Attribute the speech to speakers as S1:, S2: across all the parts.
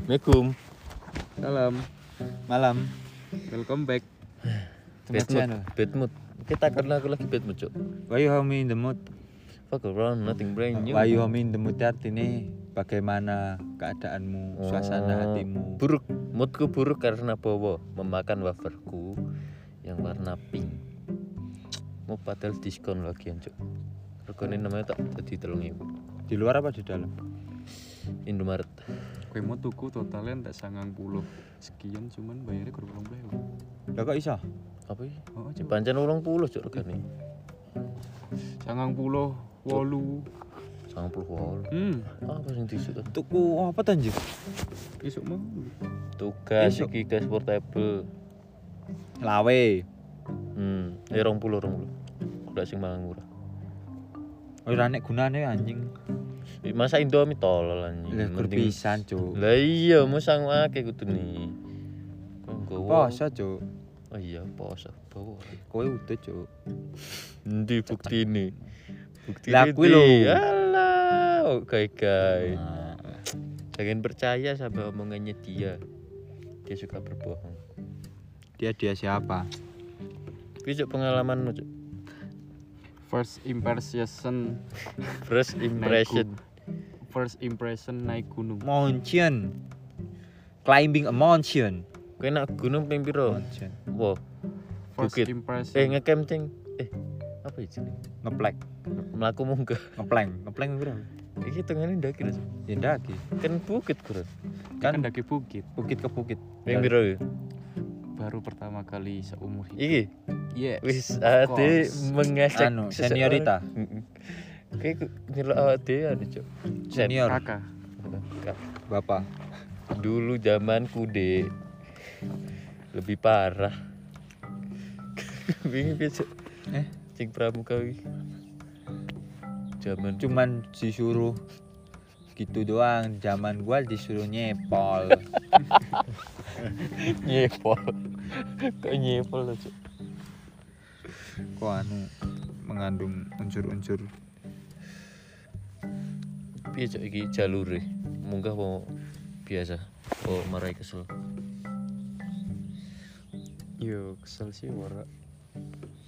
S1: Assalamualaikum.
S2: Salam,
S3: Malam.
S2: welcome back.
S3: To my
S1: Bad mood,
S3: channel.
S1: bad mood. Kita karena aku lagi bad mood, Cuk.
S3: Why you homie in the mood?
S1: Fuck around, nothing brand new.
S3: Why you homie in the mood artinya bagaimana keadaanmu, suasana
S1: Oh,
S3: hatimu.
S1: Buruk, moodku buruk karena Bowo memakan waferku yang warna pink. Mau padahal diskon lagi, Cuk. Regane namanya tak jadi telung ibu.
S3: Di luar apa di dalam?
S1: Indomaret.
S2: Kue mau tuku totalnya ndak sangang puluh sekian cuman bayarnya kurang belum belum.
S3: Lah kok iso?
S1: Apa iki?
S2: Oh,
S1: Ya
S2: coba
S1: pancen 80 Cuk regane.
S2: sangang puluh wolu.
S1: 90 wol.
S2: Hmm,
S1: Apa sing disuk?
S3: Tuku apa tuh anjir?
S2: besok mau.
S1: Tugas
S2: Iya,
S3: Isuk.
S1: iki guys portable.
S3: Lawe.
S1: Hmm, eh 20 20. Kudu sing mangan murah.
S3: Oh, Ora nek gunane anjing.
S1: Ih, Masa Indomie tolol anjing.
S3: Lah gur
S1: Mending-
S3: pisan, Cuk.
S1: Lah iya, mau sang akeh kudune. Kowe nggowo.
S3: Poso, Cuk.
S1: Oh iya, poso. Bawa.
S3: Kowe utuh, Cuk.
S1: Endi buktine? Buktine.
S3: Lah, kuwi lho.
S1: ndi? Alah, oh, gawe-gawe.
S3: Nah,
S1: Jangan percaya sama omongannya dia. Dia suka berbohong.
S3: Dia dia siapa?
S1: Kuwi Cuk, pengalamanmu, Cuk.
S2: First impression
S1: First
S2: naik
S1: impression.
S2: gun- First impression naik gunung.
S3: Mountain. Climbing a mountain.
S1: Kowe nak gunung ping piro?
S3: Mountain.
S1: Wah,
S2: First
S1: Bukit. eh
S2: impression.
S1: ngecamp cing. Eh, apa itu?
S3: Ngeplek,
S1: Melaku munggah.
S3: ngepleng, ngepleng piro?
S1: Iki tengene ndaki Cuk.
S3: Ya ndaki.
S1: kan bukit kurang.
S2: kan
S3: Kan
S2: daki bukit
S3: bukit ke bukit.
S1: Ping piro? iki?
S2: baru pertama kali seumur hidup.
S1: Iki
S2: Yes.
S1: Wis
S2: of
S1: ade
S2: course.
S1: mengecek seseorang.
S3: Anu, seniorita.
S1: Heeh. Kayak ku- nyelok ade anu, Cuk. Sen-
S3: Senior,
S2: Iya. Kakak.
S1: Ka-
S3: bapak.
S1: Dulu zaman kude lebih parah. Wingi piye, Cuk?
S3: Eh?
S1: Cing pramuka iki. Zaman
S3: cuman disuruh gitu doang zaman gua disuruh nyepol
S1: nyepol. Kok nyepol lho, Cuk?
S3: kok anu mengandung unsur-unsur
S1: Piye, Cuk, iki jalure? Munggah apa biasa? Oh, marai kesel.
S2: Yo kesel sih wara.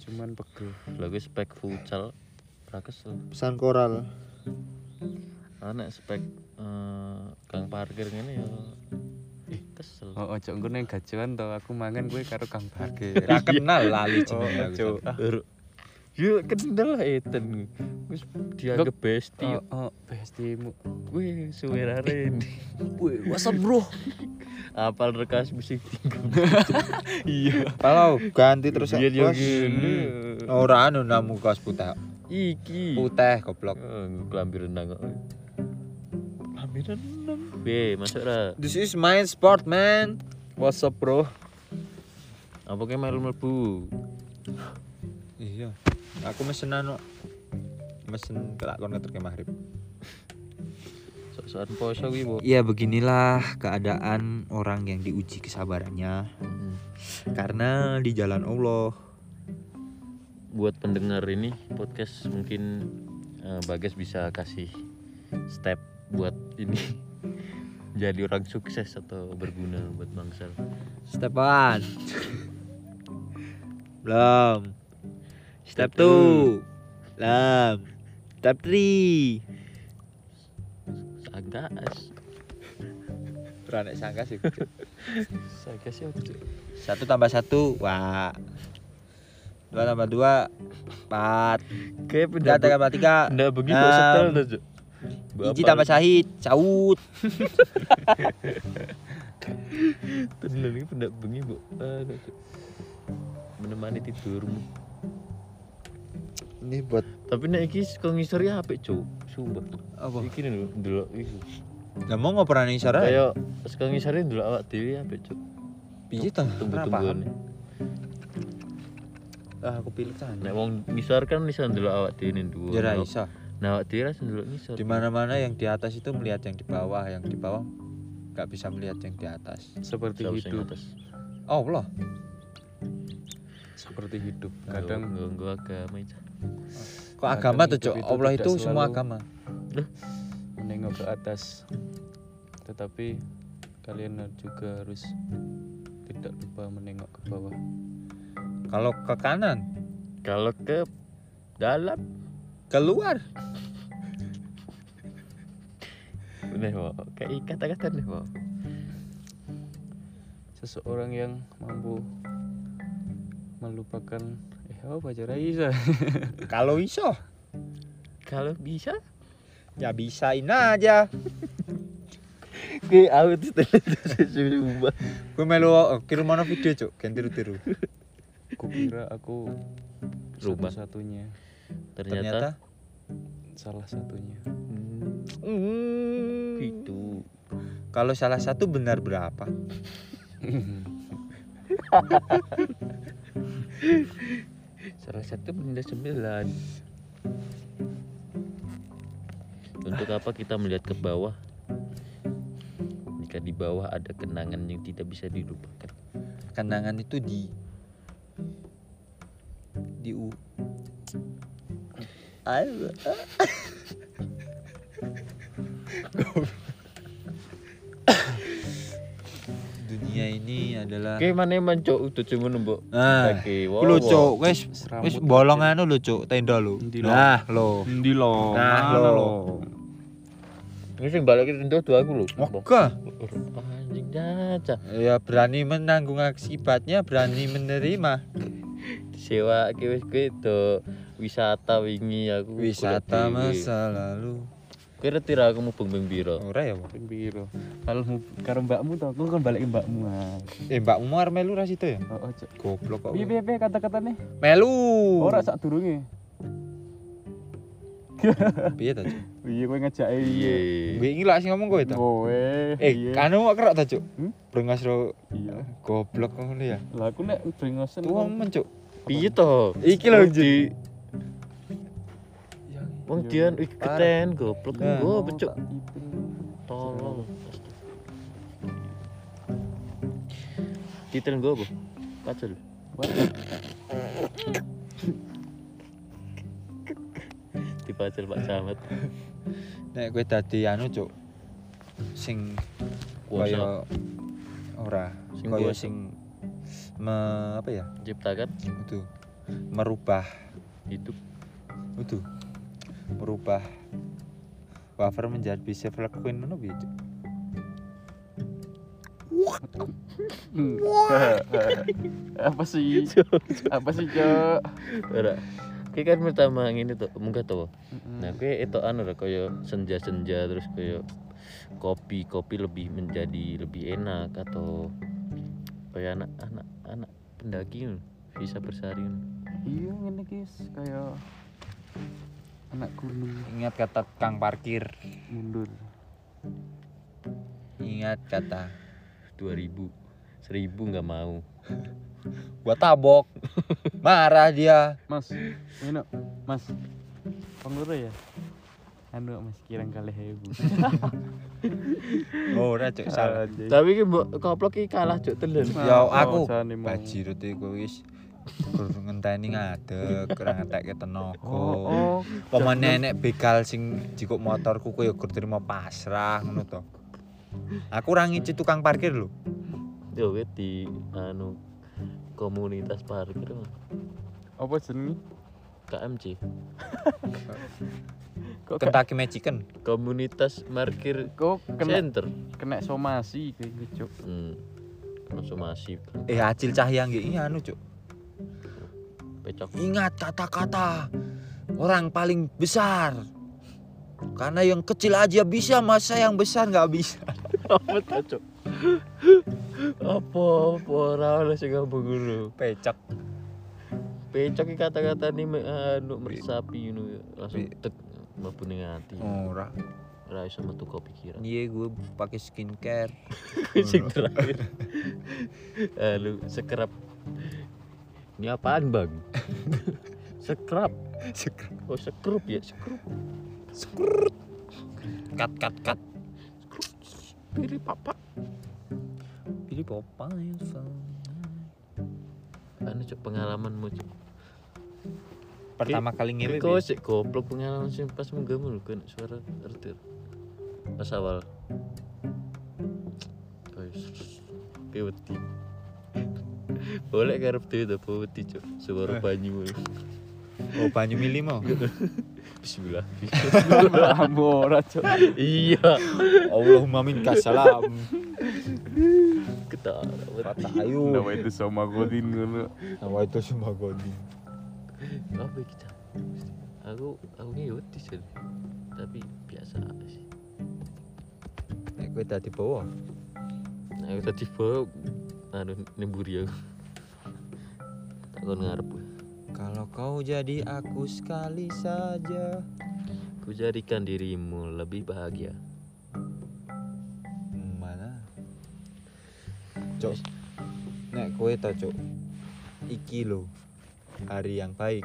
S2: Cuman pegel.
S1: Lagu spek futsal ra kesel.
S4: pesan koral
S1: anak spek eh, gang parkir ngene ya kesel
S2: Oh, ojo engko neng gajian to aku mangan kue karo Kang Bagir.
S3: gak kenal lali
S2: Oh,
S3: jenenge aku.
S2: Ojo.
S1: Ur- ya kendel lah Ethan wis dianggap bestie
S2: Oh, oh, bestimu.
S1: gue suwe rare
S2: Wih, what's up bro?
S1: apal rekas musik tinggal
S2: iya.
S3: kalau ganti terus
S1: Biar yo
S3: bos.
S1: gini.
S3: ora anu namu kaos putih
S1: iki
S3: putih goblok
S1: Eh, kelambi renang kok kelambi renang be masuk ra
S3: this is my sport man
S2: What's up bro?
S1: apa kayak melu mlebu
S3: iya aku mesen anu mesen kelakon ngeter ke maghrib
S1: sok-sokan poso kuwi bo
S3: ya beginilah keadaan orang yang diuji kesabarannya
S1: Hmm.
S3: karena di jalan Allah
S1: buat pendengar ini podcast mungkin eh, Bagas bisa kasih step buat ini jadi orang sukses atau berguna buat bangsa.
S3: Stepan. Belum.
S1: Step
S3: Step 2. Belum. Step 3.
S1: Sagas.
S3: Beranek sangka sih.
S1: Sagas ya Cuk.
S3: Satu tambah satu. Wah. Dua tambah dua. Empat.
S1: Kayak
S3: Tiga
S1: pendapat.
S3: tambah tiga.
S1: Ndak begitu kok setel
S3: Enam.
S1: tuh, Cuk.
S3: Iji tambah sahid. Saud.
S1: Tenan iki pendak bengi, Bu. Aduh, Cuk. Menemani tidurmu.
S4: ini buat
S1: Tapi nek iki kok ngisori apik, Cuk. Sumpah.
S3: Apa?
S1: Iki nih lho, ndelok iki. ya.
S3: Lah mau ngoperan ini sore?
S1: Kayak kok ngisori ndelok awak dhewe apik, Cuk.
S3: Piye to? Kenapa?
S1: Tumbuh-tumbuhan.
S3: Ah, aku pilih kan.
S1: Nek wong ngisor kan bisa ndelok awak dhewe ning dhuwur.
S3: Ya ra
S1: Nek-
S3: iso.
S1: Nah, awak dhewe rasa ndelok ngisor.
S3: Di mana-mana yang di atas itu melihat yang di bawah, yang di bawah nggak bisa melihat yang di atas.
S2: Seperti
S1: Saus yang
S2: hidup,
S1: atas.
S3: Oh, Allah.
S2: seperti hidup.
S1: Kadang
S2: Kadang
S1: nggo agama itu.
S3: Kok
S2: Kadang
S3: agama tuh,
S2: hidup
S3: Cok?
S2: itu
S3: Allah
S2: tidak
S3: itu semua
S2: selalu-
S3: agama.
S2: menengok ke atas. Tetapi kalian juga harus tidak lupa menengok ke bawah
S3: Kalau ke kanan,
S1: Kalau ke dalam,
S3: keluar.
S1: udah mau kayak kata-kata nih mau.
S2: seseorang yang mampu melupakan eh apa cara Isa
S3: Kalau iso,
S1: Kalau bisa,
S3: ya bisain aja.
S1: gue out sumpah.
S3: Gue melu kirim mana video cuk, kan tiru-tiru.
S2: aku kira aku
S1: Rumah.
S2: satu-satunya
S1: Ternyata,
S3: Ternyata,
S2: salah satunya
S1: Hmm,
S3: mm,
S1: gitu.
S3: kalau salah satu benar berapa?
S1: Salah satu benda sembilan. Untuk apa kita melihat ke bawah? Jika di bawah ada kenangan yang tidak bisa dilupakan.
S3: Kenangan itu di di u. Ayo. Dunia ini adalah
S1: Oke, mana yang mancok itu cuma nembok.
S3: Nah,
S1: Oke, wow.
S3: lu
S1: wow.
S3: cuk, wes
S2: Seramut
S3: wes bolongan lu cuk, tenda lu.
S2: Endi lo?
S3: Nah, lo.
S2: Ndi lo,
S3: Nah,
S2: mana
S3: lo.
S1: Ini sing balik itu tuh aku lu.
S3: Oke.
S1: Oh, Anjing jaca.
S3: Ya berani menanggung akibatnya, berani menerima.
S1: Sewa iki wis kuwi do wisata wingi aku.
S3: Wisata masa lalu.
S1: Kira tira aku mubeng beng biro.
S3: Ora ya, Bang?
S2: Ping piro? Kalau mu karo mbakmu to aku kan balik ke mbakmu. Mas.
S3: Eh, Mbak Umar melu ra situ ya?
S2: Oh, ojo.
S3: Goblok kok.
S2: Piye piye piye kata-katane?
S3: Melu.
S2: Ora sak durunge.
S3: piye ta, Cuk?
S2: Piye kowe ngejake piye?
S1: Iya.
S3: Gue iki lak sing ngomong kowe ta.
S2: Kowe.
S3: Eh,
S2: Oh, iya.
S3: kanu kok kerak ta, Cuk?
S2: Hmm?
S3: Brengas ro
S2: Iya.
S3: goblok kok ngono ya.
S2: Lah aku nek brengosen
S3: Tuang men, Cuk.
S1: Piye to?
S3: Iki lho di
S1: Wong dian ih keten goblok
S3: Nah.
S1: gua becuk. Tolong. Titel gua apa? Pacul. Dipacul Pak Camat.
S3: nek kowe dadi anu, Cuk. Sing
S1: Kuasa
S3: kaya ora
S1: Sing
S3: kaya
S1: kuasa.
S3: sing me, apa ya
S1: ciptakan
S3: itu merubah
S1: hidup
S3: itu merubah wafer menjadi bisa Queen mana gitu
S2: Hmm. Apa sih? Apa sih, Cok?
S1: ora Ki kan pertama ngene to, munggah to. Nah, kue itu anu lah kaya senja-senja terus kaya kopi kopi lebih menjadi lebih enak atau kayak anak anak anak pendaki ngono, bisa bersaring.
S2: Iya ngene guys, kayak anak gunung
S3: ingat kata kang parkir
S2: mundur.
S3: ingat kata
S1: 2000 seribu nggak mau
S3: gua tabok marah dia
S2: Mas, ini Mas. Pengurus ya? Anu Mas kirang kalih hebu.
S3: oh ora cuk salah
S1: tapi ki mbok koplok ki kalah cuk telan
S3: ya
S2: oh,
S3: aku bajirut iku wis gur ngenteni ngadeg ora ngetekke
S2: Oh,
S3: tenaga
S2: oh.
S3: Paman nenek begal sing jikuk motorku kowe ya gur terima pasrah ngono to. Aku ora ngici tukang parkir lho.
S1: yo wit di anu komunitas parkir mah.
S2: Apa jenenge?
S1: KMC
S2: Kok kena
S3: Kentucky Fried Chicken.
S1: komunitas parkir
S2: kok kena
S1: center
S2: kena somasi kayak gitu. Cuk.
S1: hmm. langsung masif
S3: Eh Acil Cahya nggih iya anu cuk.
S1: pecok
S3: Ingat kata-kata orang paling besar. Karena yang kecil aja bisa, masa yang besar nggak bisa.
S1: apa tuh cok apa apa ora oleh sing ngomong ngono
S3: Pecak.
S1: pecok iki kata-kata ni me- anu meresapi ngono ya. langsung
S3: Pe-
S1: tek mlebu ning ati
S3: Ora.
S1: ora iso metu kok pikiran
S3: Iya gue pakai skincare.
S1: sing terakhir lalu Anu, sekerap ini apaan bang sekerap
S3: Skrut.
S1: oh sekrup ya sekrup
S3: Skrut. Kat kat kat.
S1: pilih papa
S3: Pilih Popeye.
S1: anu cok pengalamanmu cok
S3: Pertama kali ya? ngewe.
S1: kau sih goblok pengalaman sih pas menggamul kan suara retir pas awal oh kayak wedi. Boleh karep dhewe ta apa wedi, Cuk. Suara banyu.
S3: Oh banyu milimo.
S1: Bismillah.
S2: Ambo ora cok.
S1: iya.
S3: Allahumma minka salam.
S1: Kita
S3: Kata
S1: wedi.
S3: ayu.
S2: itu sama godin ngono.
S3: Nawa itu semua godi.
S1: Apa iki, Cak? Aku aku ki ya wedi, Cuk. Tapi biasa aja sih.
S3: Nek kowe dadi bawa.
S1: Nah, aku tadi bawa anu nemburi aku. Tak kon ngarep.
S3: Kalau kau jadi aku sekali saja.
S1: Ku jadikan dirimu lebih bahagia.
S3: Mana? Cok. Nek kowe ta, Cok. Iki lho. Hari yang baik.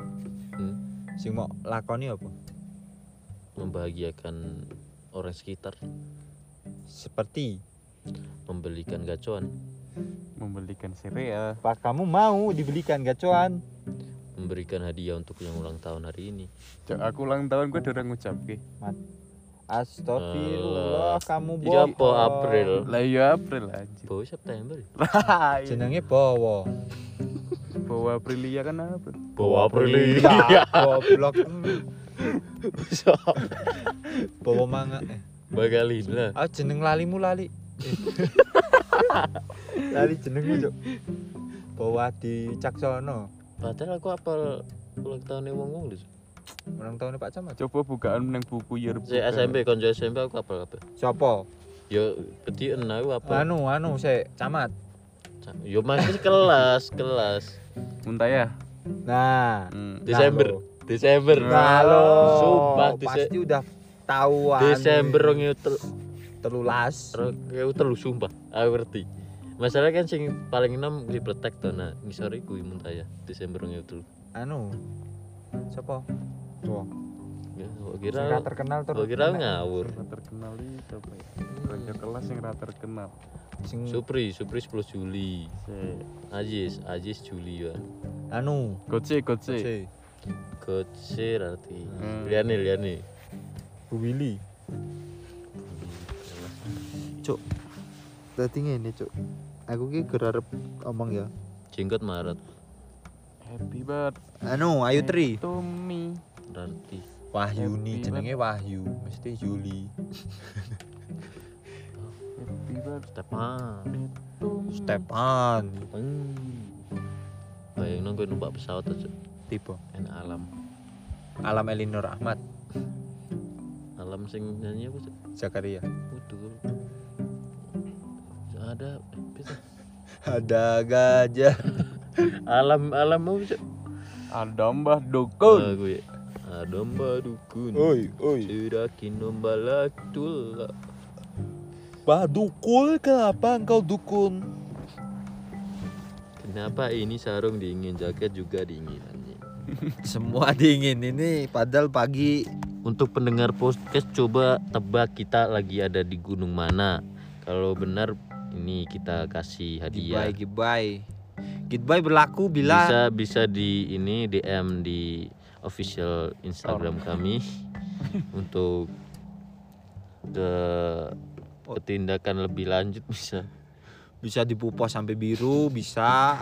S1: Hmm,
S3: Sing mau lakoni apa?
S1: membahagiakan orang sekitar,
S3: Seperti
S1: membelikan gacuan,
S2: Membelikan sereal.
S3: Pak kamu mau dibelikan gacoan?
S1: memberikan hadiah untuk yang ulang tahun hari ini.
S2: Cok aku ulang tahun gue udah ngucapke.
S3: Astagfirullah kamu
S1: Iya
S3: bohong.
S1: apa April?
S2: Lah iya April anjir.
S1: Bawa September.
S2: Lah iya.
S3: Jenenge Bowo.
S2: bawa Aprilia kan apa?
S1: Bawa April. Iya.
S3: Ya, Goblok.
S1: Bisa.
S3: Bowo manga. eh.
S1: Bagalin lah.
S3: Ah jeneng lalimu lali. Eh. lali jenengmu, Cuk. Bowo di Caksono.
S1: Padahal aku apal ulang tahunnya wong wong lho.
S3: Ulang tahunnya Pak Camat.
S2: Coba bukaan nang buku yearbook.
S1: Saya SMP konco SMP aku apal apa?
S3: Sopo?
S1: Yo peti enak aku apal.
S3: Anu, anu, saya camat.
S1: Yo masih kelas kelas.
S2: Muntah ya.
S3: Nah,
S2: Hmm.
S1: Desember. Desember.
S3: Nah, lo.
S1: Sumpah,
S3: pasti
S1: Dese-
S3: udah tahu
S1: Desember rong ewu tel-
S3: telulas.
S1: Aku terlalu sumpah, aku ngerti. Masalah kan sing paling enom di Pletek to nah ngisor iku muntah ya Desember yang itu.
S3: Anu. Sopo? Tuh.
S1: Ya, aku
S3: Sing ra
S1: kira
S3: terkenal terus.
S1: aku kira ngawur.
S2: Ora terkenal itu apa ya? Kanca kelas yang ora terkenal.
S3: Sing
S1: Supri, Supri 10 Juli.
S2: Se
S1: Ajis, Ajis Juli ya.
S3: anu.
S2: Goce, goce.
S3: C.
S1: Gocir arti.
S2: Hmm.
S1: Liane, liane.
S3: Bu Willy.
S4: Dadi ngene, Cuk. Aku ki gur arep omong ya.
S1: Jenggot Maret
S2: Happy birthday
S4: Anu, Ayu Tri.
S2: to me.
S1: arti.
S3: Wahyuni
S2: Happy
S3: jenenge Wahyu, mesti Yuli.
S2: Happy birthday
S1: Stepan.
S2: to me.
S3: Stepan
S1: Bayangno gue numpak pesawat aja
S3: tipe
S1: enak alam.
S3: Alam Elinor Ahmad
S1: Alam sing nyanyi aku
S3: Zakaria.
S1: Waduh. Ada eh,
S3: Ada gajah.
S1: alam alam mau bisa
S2: Ada Mbah Dukun.
S1: gue ada mbak ya? Ah, dukun
S3: Oi, oi.
S1: sirakin nombalak tulah
S3: Bah dukul kenapa engkau dukun?
S1: kenapa ini sarung dingin jaket juga dingin anjing
S4: Semua dingin ini padahal pagi
S1: untuk pendengar podcast coba tebak kita lagi ada di gunung mana kalau benar ini kita kasih hadiah
S4: goodbye goodbye. Goodbye berlaku bila
S1: Iya. bisa bisa di ini DM di official Instagram kami untuk ke
S3: Oh.
S1: ketindakan lebih lanjut bisa
S4: bisa dipupos sampai biru, bisa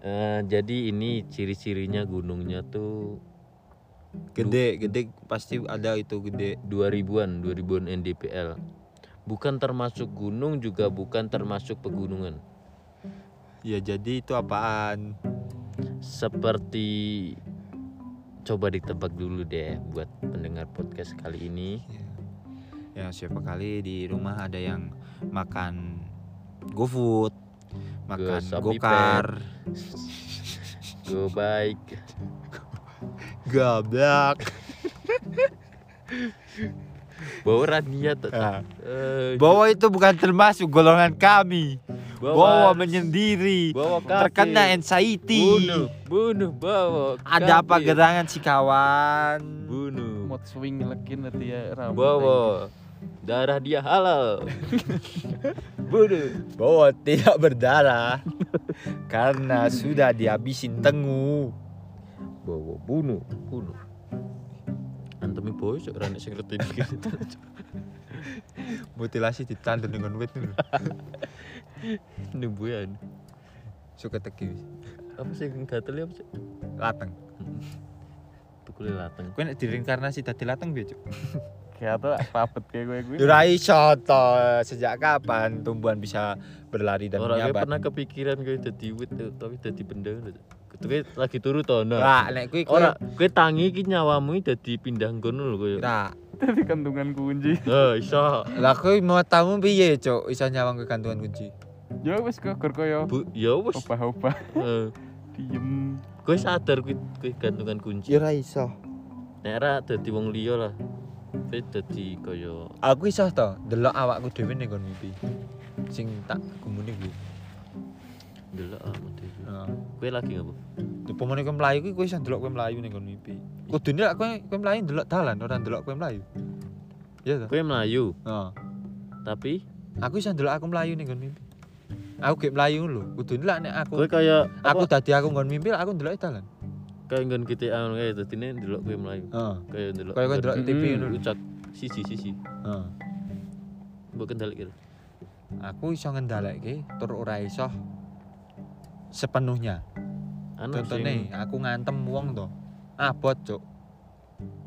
S1: Eh, jadi ini ciri-cirinya gunungnya tuh
S4: gede gede pasti ada itu gede.
S1: 2000-an, 2000-an NDPL. Bukan termasuk gunung juga bukan termasuk pegunungan.
S4: Ya jadi itu apaan?
S1: Seperti coba ditebak dulu deh buat pendengar podcast kali ini.
S4: Ya siapa kali di rumah ada yang makan GoFood, makan
S1: Sapi
S4: Gokar,
S1: Go bike.
S4: gablak,
S1: Bawa Rania Eh, tetap.
S4: Ya. bahwa itu bukan termasuk golongan kami. Bawa menyendiri.
S1: bawa
S4: Terkena
S1: kaki.
S4: anxiety.
S1: Bunuh, bunuh bawa.
S4: Ada apa
S1: kaki.
S4: gerangan si kawan?
S1: Bunuh.
S2: Mod swing lekin nanti ya rambut.
S1: Bawa. Darah dia halal. bunuh.
S4: Bahwa tidak berdarah karena sudah dihabisin tengu.
S1: bawa bunuh bunuh antemi boy cok rane sing ngerti iki.
S4: Mutilasi ditandur dengan wit dulu.
S1: Nembuyan.
S3: suka teki wis.
S1: Apa sih yang gatel ya, apa sih?
S3: lateng
S1: Tukule lateng.
S3: kowe nek direinkarnasi dadi lateng piye cuk
S2: Kayak tuh papet kayak gue gue.
S3: ora iso to sejak kapan tumbuhan bisa berlari dan
S1: Orang gue
S3: menyambat
S1: pernah kepikiran gue jadi wit eh, tapi jadi benda. Gue lagi turu to nah.
S3: Lah, nek kuwi
S1: Ora, gue tangi ki nyawamu iki dadi pindah kono lho koyo.
S3: Lah,
S2: Tapi kantungan kunci.
S1: Eh, iso.
S3: lah kuwi mau tamu piye cuk iso nyawang kegantungan kunci
S2: Yo wis kok gur koyo.
S1: Bu, ya wis.
S2: Opa-opa
S1: Eh,
S2: diem.
S1: Gue sadar gue gue gantungan kunci.
S3: ora iso
S1: Nek ora dadi wong liya lah. Gue dadi koyo
S3: aku iso to delok awakku dhewe ning nggon mimpi sing tak gumune kuwi
S1: delok ah model.
S3: heeh
S1: Gue lagi ngapa?
S3: Iya. upamane kowe mlayu kuwi kowe iso delok kowe mlayu ning nggon mimpi kudune lak kowe kowe mlayu delok dalan ora delok kowe mlayu iya to
S1: Gue melayu,
S3: heeh
S1: tapi
S3: aku iso delok aku mlayu ning nggon mimpi aku gek mlayu lho kudune lak nek aku
S1: gue kayak
S3: aku dadi aku nggon mimpi lak aku delok dalan
S1: kayak nggon GTA ngono kayak dadi ne ndelok gue melayu.
S3: heeh
S1: Kayak ndelok.
S3: Kayak kowe ndelok TV ngono lho.
S1: ucak siji siji.
S3: heeh
S1: Mbok kendalik gitu. kira.
S3: aku iso ngendhaleke tur ora iso sepenuhnya
S1: Ana
S3: contohnya
S1: sing
S3: aku ngantem wong to abot cuk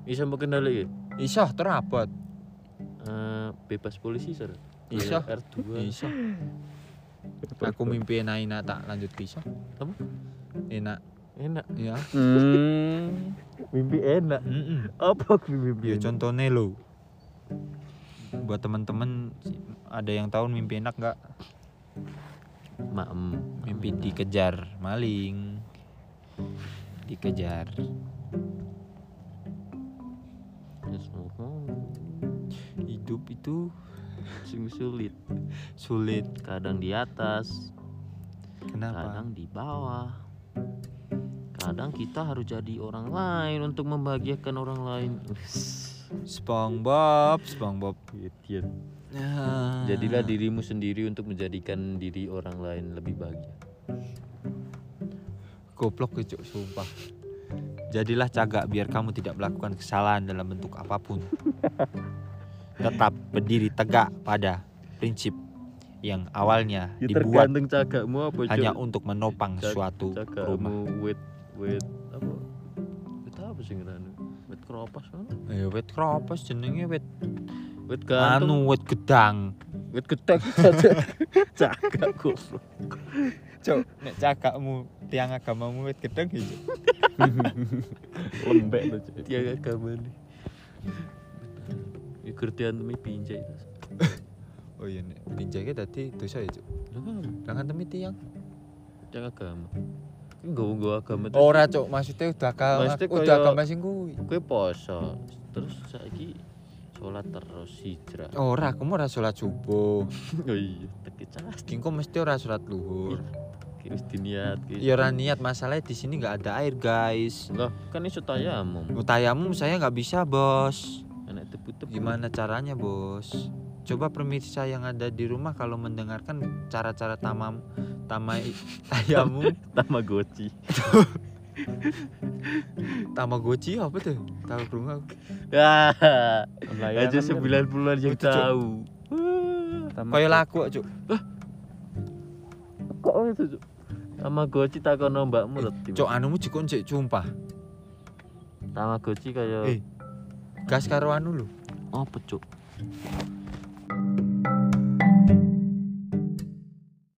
S1: iso mbok kendalik ya.
S3: iso tur abot
S1: Eh, bebas polisi sir.
S3: Iso.
S1: R2.
S3: iso aku mimpi enak enak tak lanjut pisah
S1: Apa?
S3: enak
S1: Enak.
S3: ya
S2: Hmm.
S1: Mimpi enak.
S3: Mm-mm.
S1: Apa gue mimpi?
S3: ya
S1: enak?
S3: contohnya lo buat temen-temen ada yang tahu mimpi enak nggak
S1: Maem.
S3: mimpi
S1: Hmm.
S3: dikejar maling dikejar
S1: Yes, mohon.
S3: hidup itu
S1: Sing sulit.
S3: sulit
S1: Kadang di atas,
S3: kenapa
S1: kadang di bawah. Kadang kita harus jadi orang lain untuk membahagiakan orang lain.
S3: SpongeBob SpongeBob
S1: Idiot.
S3: Ah.
S1: Jadilah dirimu sendiri untuk menjadikan diri orang lain lebih bahagia.
S3: goblok kecuk sumpah jadilah cagak biar kamu tidak melakukan kesalahan dalam bentuk apapun tetap berdiri tegak pada prinsip yang awalnya
S1: Ya,
S3: dibuat
S1: cagakmu apa
S3: hanya untuk menopang
S1: Cag-
S3: suatu rumah
S1: cagakmu wit wit apa? Wit apa sih ngerane? Wit keropas kan?
S3: eh wet kropos jenenge wet
S1: Wit gantung.
S3: anu wet gedang
S1: Wit getek. Cagak goblok.
S3: cuk nek cagakmu tiang agamamu wet gedang ya Cuk.
S2: Lembek tuh. Cuk.
S1: Tiaga kamane. Ya kertian mi pinjai tas.
S3: oh iya nek pinjake tadi dosa ya cuk jangan temi tiang
S1: Jangan agama. Ki nggawa-nggawa agama terus
S3: ora cuk maksudnya udah agama
S1: Maksudnya
S3: udah
S1: kayak-
S3: agama sing kuwi
S1: kowe poso. Terus saiki sholat terus hijrah.
S3: ora aku mau ora sholat subuh
S1: Oh iya, teki cas.
S3: Kingko mesti ora sholat luhur.
S1: Ki wis diniat ki.
S3: Ya ora niat masalahnya di sini nggak ada air guys.
S1: Loh, kan iso tayamum.
S3: Utayamum saya nggak bisa bos.
S1: Anak tebu-tebu.
S3: Gimana caranya bos? Coba pemirsa yang ada di rumah kalau mendengarkan cara-cara tamam tamai tayamum
S1: Tamagotchi.
S3: tamagotchi apa tuh? Tahu belum aku?
S1: Ah,
S2: Layangan
S1: aja
S2: kan.
S1: 90-an yang
S3: Betul, Cuk.
S1: tahu.
S2: Pertama
S3: Kayak lagu cuk.
S1: Kok itu, Cuk? Tamagotchi takono mbakmu reti.
S3: Cuk anumu jikon cek cumpah.
S1: Tamagotchi kaya
S3: Eh. Gas karo anu lu.
S1: apa, Cuk?